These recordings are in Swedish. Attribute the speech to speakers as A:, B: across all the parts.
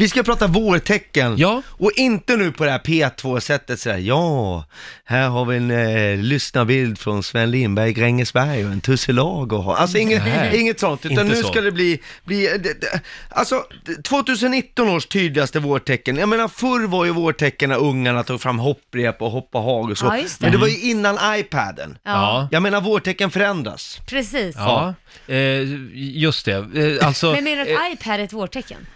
A: Vi ska prata vårtecken.
B: Ja.
A: Och inte nu på det här P2-sättet sådär, ja, här har vi en eh, lyssnarbild från Sven Lindberg i Grängesberg och en tusselag och ha. Alltså inget,
B: Nej,
A: inget sånt, utan
B: inte
A: nu
B: så.
A: ska det bli, bli eh, det- det- alltså d- 2019 års tydligaste vårtecken. Jag menar förr var ju vårtecken när ungarna tog fram hopprep och hoppa hag och så.
C: Ja, just det.
A: Men det var ju innan iPaden.
C: Ja,
B: Ja.
A: Jag menar vårtecken förändras.
C: precis.
B: Ja, eh, just det. Eh, alltså,
C: Men menar du
B: eh,
C: att iPad är ett vårtecken?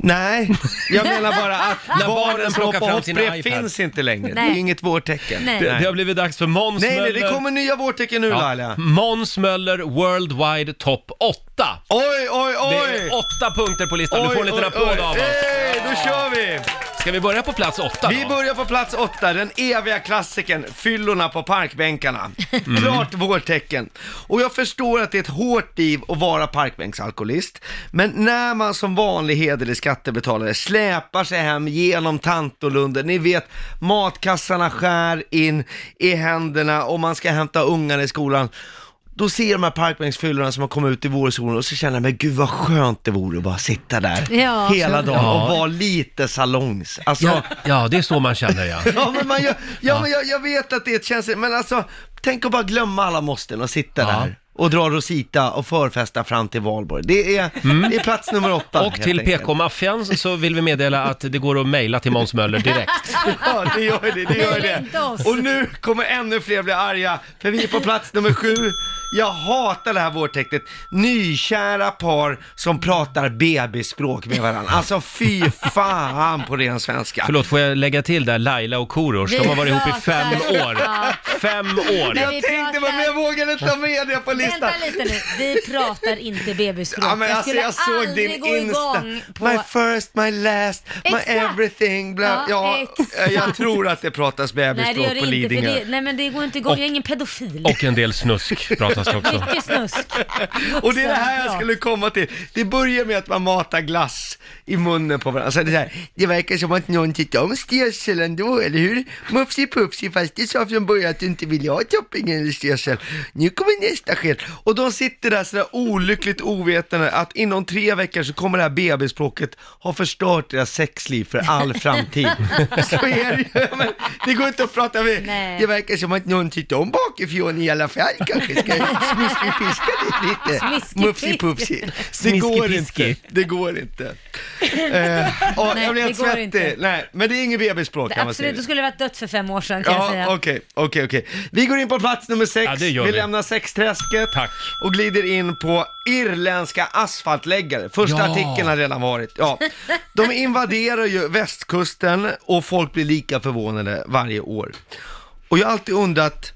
A: Nej, jag menar bara att barnen
B: När barnen
A: på
B: plockar
A: hoppa
B: fram sina
A: hopprep
B: iPads.
A: finns inte längre. Det är
C: Nej.
A: inget vårtecken.
C: Nej.
B: eh, det, det har blivit dags för Måns
A: Nej, nej,
B: Möller.
A: det kommer nya vårtecken nu
B: ja,
A: Laila.
B: Måns Möller Worldwide Top 8.
A: Oj, oj,
B: Det
A: oj!
B: är åtta punkter på listan. Du
A: Oj,
B: får en liten
A: oj,
B: applåd
A: oj.
B: av oss.
A: Hej, då kör vi!
B: Ska vi börja på plats åtta
A: Vi
B: då?
A: börjar på plats åtta, den eviga klassikern, fyllorna på parkbänkarna.
B: Mm.
A: Klart vårtecken. Och jag förstår att det är ett hårt liv att vara parkbänksalkoholist, men när man som vanlig hederlig skattebetalare släpar sig hem genom Tantolunden, ni vet matkassarna skär in i händerna och man ska hämta ungarna i skolan. Då ser jag de här parkbänksfyllorna som har kommit ut i vårsolen och så känner jag, men gud vad skönt det vore att bara sitta där
C: Ja.
A: hela dagen och
B: Ja.
A: vara lite salongs. Alltså,
B: Ja, ja, det är så man känner ja.
A: Ja, men, man, jag, ja, men jag, jag vet att det är ett känsligt, men alltså, tänk att bara glömma alla måsten och sitta
B: Ja.
A: där och dra Rosita och förfesta fram till valborg. Det är, det är plats nummer åtta.
B: Mm. Och
A: helt
B: till
A: enkelt.
B: PK-maffian så vill vi meddela att det går att mejla till Måns Möller direkt.
A: Ja, det gör det, det gör
C: Mejla
A: det.
C: inte oss.
A: Och nu kommer ännu fler bli arga, för vi är på plats nummer sju. Jag hatar det här vårtecknet. Nykära par som pratar bebisspråk med varandra. Alltså fy fan på ren svenska.
B: Förlåt, får jag lägga till där Laila och Korosh? De har varit ihop i fem år.
C: Ja.
B: Fem år!
C: Vi
A: Jag tänkte, men
C: pratar-
A: jag vågade ta med det på listan.
C: Vänta lite nu, vi pratar inte bebisspråk.
A: Ja, men
C: jag
A: alltså,
C: skulle
A: jag såg
C: aldrig
A: din
C: gå
A: Insta.
C: igång på...
A: My first, my last,
C: Exakt.
A: my everything. Bla, ja,
C: Ja, exakt.
A: jag tror att det pratas
C: Nej det gör
A: bebisspråk
C: det
A: på
C: inte, för
A: Lidingö.
C: det, nej men det går inte igång, jag är ingen pedofil.
B: Och en del snusk pratas det också.
C: Mycket snusk.
A: Och det är det här jag
C: Vuxenprat.
A: skulle komma till. Det börjar med att man matar glass i munnen på varandra. Alltså det, är så här, det verkar som att någon tyckte om stersel ändå, eller hur? Mufsi Pufsi, fast du sa från början att du inte ville ha topping eller stersel. Nu kommer nästa sked. Och de sitter där sådär olyckligt ovetande att inom tre veckor så kommer det här bebisspråket ha förstört deras sexliv för all framtid. så är det ju. Men det går inte att prata med.
C: Nej.
A: Det verkar som att någon tyckte om bakifrån i alla fall. Kanske ska smiskipiska det lite.
C: Smiskipisk.
A: Mufsi Pufsi. Det
B: Smiskipiski.
A: går inte. Det går inte. Eh, åh,
C: Nej,
A: jag blev
C: det
A: helt
C: går
A: svettig.
C: inte.
A: Nej, men det är inget bebisspråk kan man
C: Absolut,
A: säga.
C: du skulle varit dött för fem år sedan kan jag
A: Ja,
C: säga.
A: okej, okej, okej. Vi går in på plats nummer sex.
B: Ja, det gör
A: vi
B: vi.
A: lämnar sexträsket
B: Tack.
A: och glider in på irländska asfaltläggare. Första
B: Ja.
A: artikeln har redan varit. Ja. De invaderar ju västkusten och folk blir lika förvånade varje år. Och jag har alltid undrat,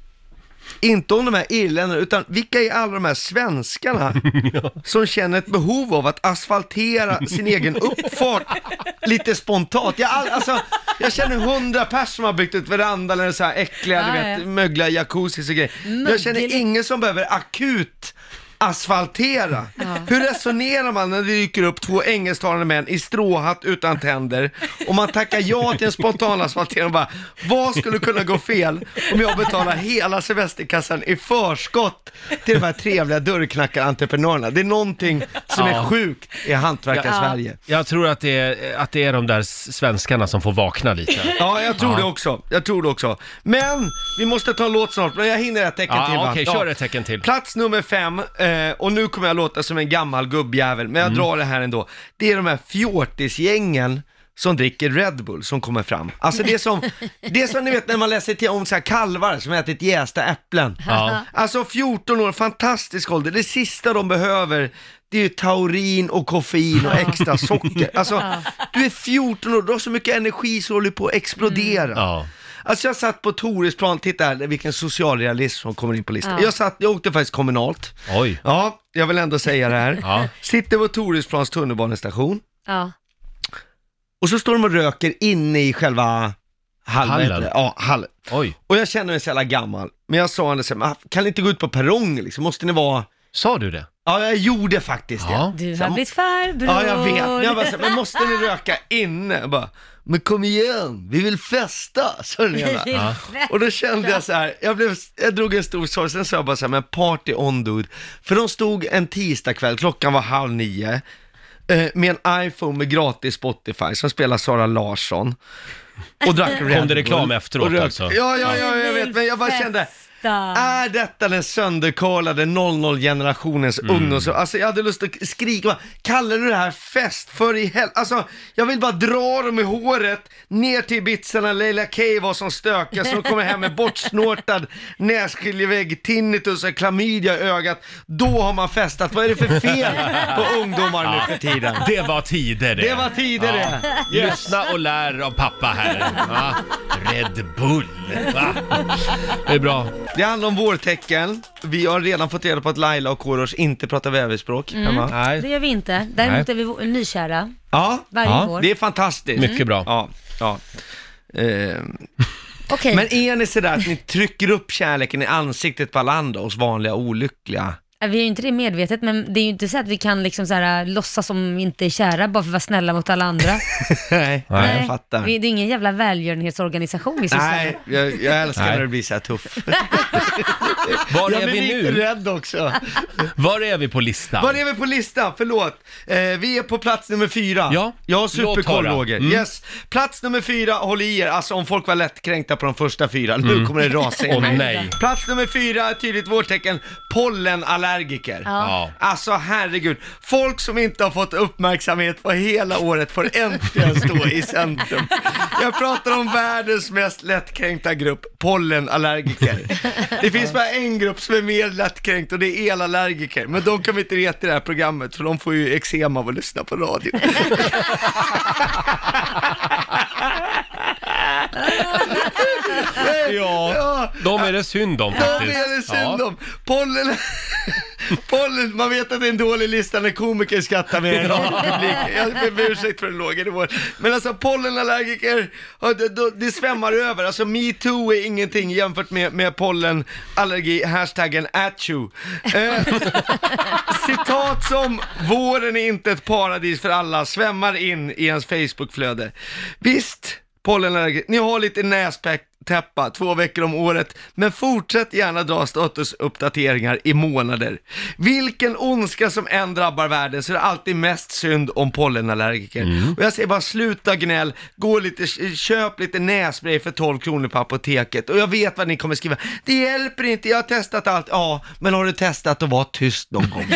A: inte om de här irländarna, utan vilka är alla de här svenskarna som känner ett behov av att asfaltera sin egen uppfart lite spontant? Jag, all, alltså, jag känner hundra pers som har byggt ut veranda eller så här äckliga, du
C: Ja, ja.
A: vet, mögliga jacuzzis och grejer. Jag känner
C: Mögel.
A: ingen som behöver akut asfaltera. Hur resonerar man när det dyker upp två engelsktalande män i stråhatt utan tänder och man tackar ja till en spontan asfaltering och bara, vad skulle kunna gå fel om jag betalar hela semesterkassan i förskott till de här trevliga dörrknackarentreprenörerna? Det är någonting som är
B: Ja.
A: sjukt i hantverkar-Sverige.
B: Jag tror att det, är, att det är de där s- svenskarna som får vakna lite.
A: Ja, jag tror
B: Ja.
A: det också. Jag tror det också. Men vi måste ta en låt snart, men jag hinner ett tecken
B: Ja,
A: till va?
B: okej, kör ett tecken till.
A: Plats nummer fem, eh, och nu kommer jag låta som en gammal gubbjävel, men jag drar det här ändå. Det är de här fjortisgängen som dricker Red Bull som kommer fram. Alltså det är som, det är som ni vet när man läser till om så här kalvar som ätit jästa äpplen.
B: Ja.
A: Alltså 14 år, fantastisk ålder. Det sista de behöver, det är ju taurin och koffein och extra socker. Alltså, du är 14 år, du har så mycket energi så du håller på att explodera.
B: Ja.
A: Alltså jag satt på Toresplan, titta här vilken socialrealism som kommer in på listan.
C: Ja.
A: Jag, satt, jag åkte faktiskt kommunalt.
B: Oj.
A: Ja, jag vill ändå säga det här.
B: Ja.
A: Sitter på Toresplans tunnelbanestation
C: Ja.
A: och så står de och röker inne i själva hallen.
B: Hallen.
A: Ja, hallen.
B: Oj.
A: Och jag känner mig så jävla gammal. Men jag sa ändå så här, "Men kan ni inte gå ut på perrongen liksom? Måste ni vara...
B: Sa du det?
A: Ja, jag gjorde faktiskt det.
B: Ja.
C: Du
A: Så
C: har
A: jag-
C: blivit farbror.
A: Ja, jag vet. Men, jag bara, så här, men måste ni röka inne? Jag bara, men kom igen, vi vill festa, sa den ena.
C: Ja.
A: Och då kände jag så här, jag, blev, jag drog en stor sorg, sen sa jag bara så här, men party on dude. För de stod en tisdagkväll, klockan var halv nio. eh, med en iPhone med gratis Spotify som spelar Sara Larsson. Och drack Red
B: Kom det reklam
A: Bull
B: efteråt
A: och rökte.
B: alltså?
A: Ja, ja, ja, jag vet, men jag bara kände,
C: Festa.
A: är detta den sönderkarlade 00-generationens
B: Mm.
A: ungdoms... Alltså jag hade lust att skrika bara, kallar du det här fest? För i hel... Alltså jag vill bara dra dem i håret, ner till Ibiza när Leila K var som stökigast så de kommer hem med bortsnortad nässkiljevägg, tinnitus och klamydia i ögat. Då har man festat. Vad är det för fel på ungdomar nu för tiden?
B: Det var tider det.
A: Det var tider det.
B: Ja. Lyssna och lär av pappa här. Ja. Red Bull. Va? Det är bra.
A: Det handlar om vårtecken. Vi har redan fått reda på att Laila och Korosh inte pratar väverspråk hemma.
C: Det
B: Nej,
C: gör vi inte. Däremot är vi vå- nykära
A: Ja,
C: varje
B: Ja,
C: vår.
A: Det är fantastiskt. Mm.
B: mycket bra.
A: Ja, ja. Ehm,
C: Okej,
A: Men är ni sådär att ni trycker upp kärleken i ansiktet på alla andra oss vanliga olyckliga?
C: Äh, vi är ju inte det medvetet, men det är ju inte så att vi kan liksom så här, äh, låtsas som vi inte är kära bara för att vara snälla mot alla andra.
A: Nej,
B: Nej.
A: jag fattar.
C: Vi, det är ingen jävla välgörenhetsorganisation vi sysslar med.
A: Nej, jag, jag älskar
B: Nej.
A: när det blir så här tuff.
B: Var
A: Jag
B: är
A: blir
B: vi
A: lite
B: nu?
A: rädd också.
B: Var är vi på
A: Var
B: listan?
A: är vi på listan? Förlåt. Eh, vi är på plats nummer fyra.
B: Ja.
A: Jag har
B: Låt
A: superkoll
B: höra.
A: Roger.
B: Mm.
A: Yes. Plats nummer fyra, håll i er. Alltså om folk var lättkränkta på de första fyra, nu kommer det rasa in
B: Mm. Åh
A: här.
B: nej.
A: Plats nummer fyra, ett tydligt vårtecken, pollenallergiker.
B: Ja.
A: Alltså herregud, folk som inte har fått uppmärksamhet på hela året får äntligen stå i centrum. Jag pratar om världens mest lättkränkta grupp, pollenallergiker. Det finns bara en grupp som är mer lättkränkt och det är elallergiker. Men de kan vi inte reta i det här programmet för de får ju eksem av att lyssna på radio.
B: Ja,
A: Ja.
B: de är det synd om
A: Ja,
B: faktiskt.
A: det är det synd
B: Ja.
A: om. Pollen... Pollen, man vet att det är en dålig lista när komiker skrattar mer än publiken. Jag ber om ursäkt för den låga nivån. Men alltså pollenallergiker, ja, det, då- det svämmar över. Alltså metoo är ingenting jämfört med, med pollenallergi, hashtaggen at you. Eh, citat som “Våren är inte ett paradis för alla” svämmar in i ens Facebookflöde. Visst, pollenallergiker, ni har lite nästäppa två veckor om året, men fortsätt gärna dra statusuppdateringar i månader. Vilken ondska som än drabbar världen så är det alltid mest synd om pollenallergiker. Och jag säger bara sluta gnäll, gå lite, köp lite nässpray för 12 kronor på apoteket. Och jag vet vad ni kommer skriva, det hjälper inte, jag har testat allt. Ja, men har du testat att vara tyst någon gång?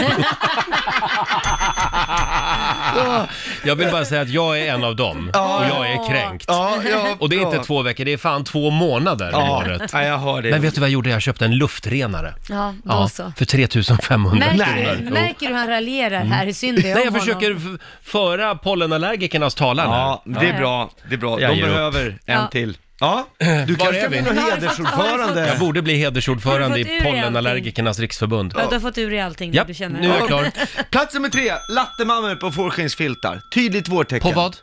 B: Jag vill bara säga att jag är en av dem
A: Ja.
B: och jag är kränkt.
A: Ja, ja,
B: Och det är
A: bra.
B: inte två veckor, det är fan två månader om
A: ja.
B: året.
A: ja, jag har det.
B: Men vet du vad jag gjorde? Jag köpte en luftrenare.
C: Ja, då så.
B: för 3500
C: Märker,
A: Nej.
B: Jo. Mm.
C: Du, märker du hur han raljerar här? Hur synd det är
B: Nej,
C: om
B: jag försöker
C: honom.
B: f- föra pollenallergikernas talan
A: Ja,
B: här.
A: det är bra. Det är bra.
B: Jag
A: De
B: ger upp.
A: behöver en
C: Ja.
A: till. Ja, du
B: Var
A: kanske
B: är vi?
A: blir någon
C: Har du fått-
A: hedersordförande.
B: Jag borde bli
C: Har
B: hedersordförande
C: du fått ur
B: i
C: dig
B: Pollenallergikernas riksförbund.
C: Ja, du har fått ur dig allting
B: Japp,
C: du känner.
B: nu är jag klar.
A: Plats nummer tre, lattemammor på fårskinnsfiltar. Tydligt vårtecken.
B: På vad?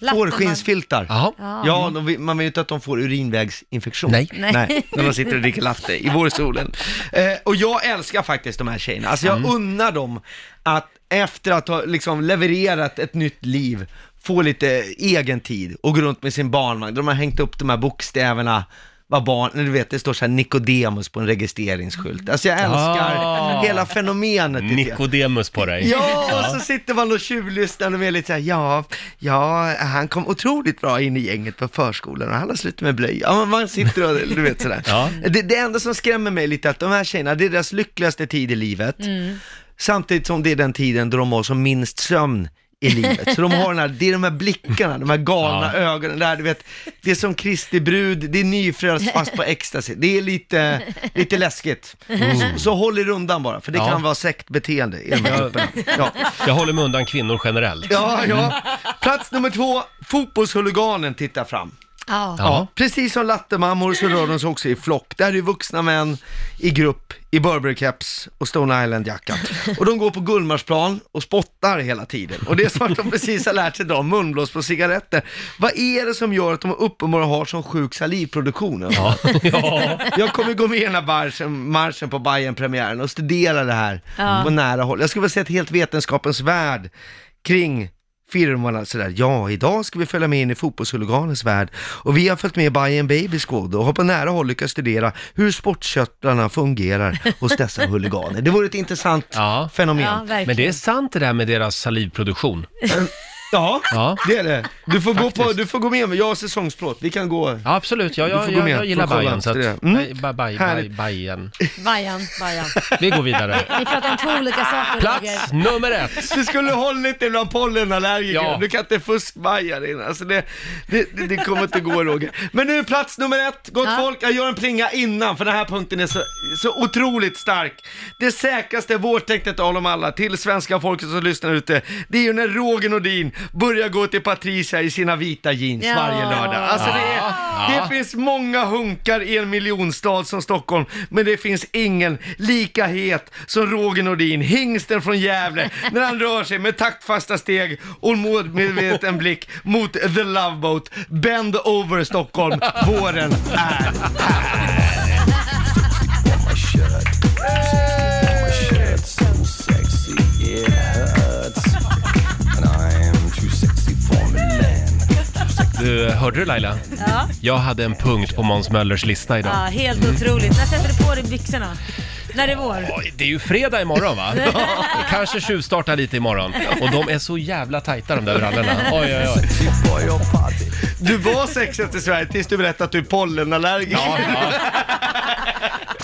C: Latteman.
A: Fårskinnsfiltar.
B: Jaha.
A: Ja, de vill, man vill ju inte att de får urinvägsinfektion.
B: Nej.
A: Nej.
C: Nej.
A: när de sitter och dricker latte i vårsolen. Eh, och jag älskar faktiskt de här tjejerna. Alltså jag unnar dem att efter att ha liksom levererat ett nytt liv, få lite egen tid och gå runt med sin barnvagn. De har hängt upp de här bokstäverna, vad barn, du vet det står så här Nicodemus på en registreringsskylt. Alltså jag älskar
B: Ah.
A: hela fenomenet. tycker jag.
B: Nikodemus på dig.
A: Ja, och så sitter man och tjuvlyssnar och är lite såhär, ja, ja, han kom otroligt bra in i gänget på förskolan och han har slutat med blöja. Ja, men man sitter och, du vet sådär.
B: Ja.
A: Det, det enda som skrämmer mig lite är att de här tjejerna, det är deras lyckligaste tid i livet. Samtidigt som det är den tiden då de har som minst sömn i livet. Så de har den här, det är de här blickarna, de här galna ögonen där, du vet, det är som Kristi brud, det är nyfrälst fast på ecstasy. Det är lite, lite läskigt. Så, så håll er undan bara, för det
B: Mm. Ja.
A: kan vara sektbeteende i de här grupperna. Ja.
B: Jag håller mig undan kvinnor generellt.
A: Ja, ja. Plats nummer två, fotbollshuliganen tittar fram.
C: Ja.
B: Ja.
A: Precis som lattemammor så rör de sig också i flock. Där är ju vuxna män i grupp i Burberry-keps och Stone Island-jacka. Och de går på Gullmarsplan och spottar hela tiden. Och det är så att de precis har lärt sig dra munblås på cigaretter. Vad är det som gör att de uppenbarligen har sån sjuk salivproduktion?
B: Ja. ja.
A: Jag kommer gå med i den här marschen, marschen på Bayern-premiären och studera det här på nära håll. Jag skulle vilja se ett helt vetenskapens värld kring firmorna sådär, ja idag ska vi följa med in i fotbollshuliganens värld och vi har följt med Bayern Baby Squad och har på nära håll lyckats studera hur sportköttarna fungerar hos dessa huliganer. Det vore ett intressant
B: Ja.
A: fenomen.
C: Ja,
A: Ja,
C: verkligen.
B: Men det är sant det där med deras salivproduktion. Ja.
A: det är det. Du får, gå, på, du får gå med mig, jag har säsongsplåt, vi kan gå.
B: Ja, absolut. Jag,
A: Du får
B: jag,
A: gå
B: jag,
A: med.
B: jag gillar
A: Får kolla
B: Bajen. Så att,
A: efter det. Mm.
B: Nej, ba, baj, baj,
A: Härligt.
B: bajen.
C: Bajan, Bajan.
B: Vi går vidare.
C: Vi pratar om två olika saker Roger.
B: Plats nummer ett.
A: Du skulle hållit dig bland pollenallergiker,
B: Ja.
A: du kan inte fuskbaja dig. Alltså det, det, det, det kommer inte gå Roger. Men nu plats nummer ett, gott
C: Ja.
A: folk, jag gör en plinga innan för den här punkten är så, så otroligt stark. Det säkraste vårtecknet av dem alla till svenska folket som lyssnar ute, det är ju när Roger Nordin börjar gå till Patricia i sina vita jeans
C: Ja.
A: varje lördag. Alltså det, är,
B: Ja.
A: det finns många hunkar i en miljonstad som Stockholm, men det finns ingen lika het som Roger Nordin, hingsten från Gävle, när han rör sig med taktfasta steg och målmedveten blick mot The Love Boat. Bend over Stockholm, våren är
D: so sexy it hurts. And I'm too sexy for me, man.
B: Du, hörde du Laila?
C: Ja.
B: Jag hade en punkt på Måns Möllers lista
C: ja,
B: idag.
C: helt otroligt. När sätter du på dig byxorna? När det är vår?
B: Oj, Det är ju fredag imorgon va? Kanske tjuvstartar lite imorgon. Och de är så jävla tajta de där brallorna. Oj, oj, oj.
D: For your party.
A: Du var sexigast i Sverige tills du berättade att du är pollenallergiker.
B: Ja, ja.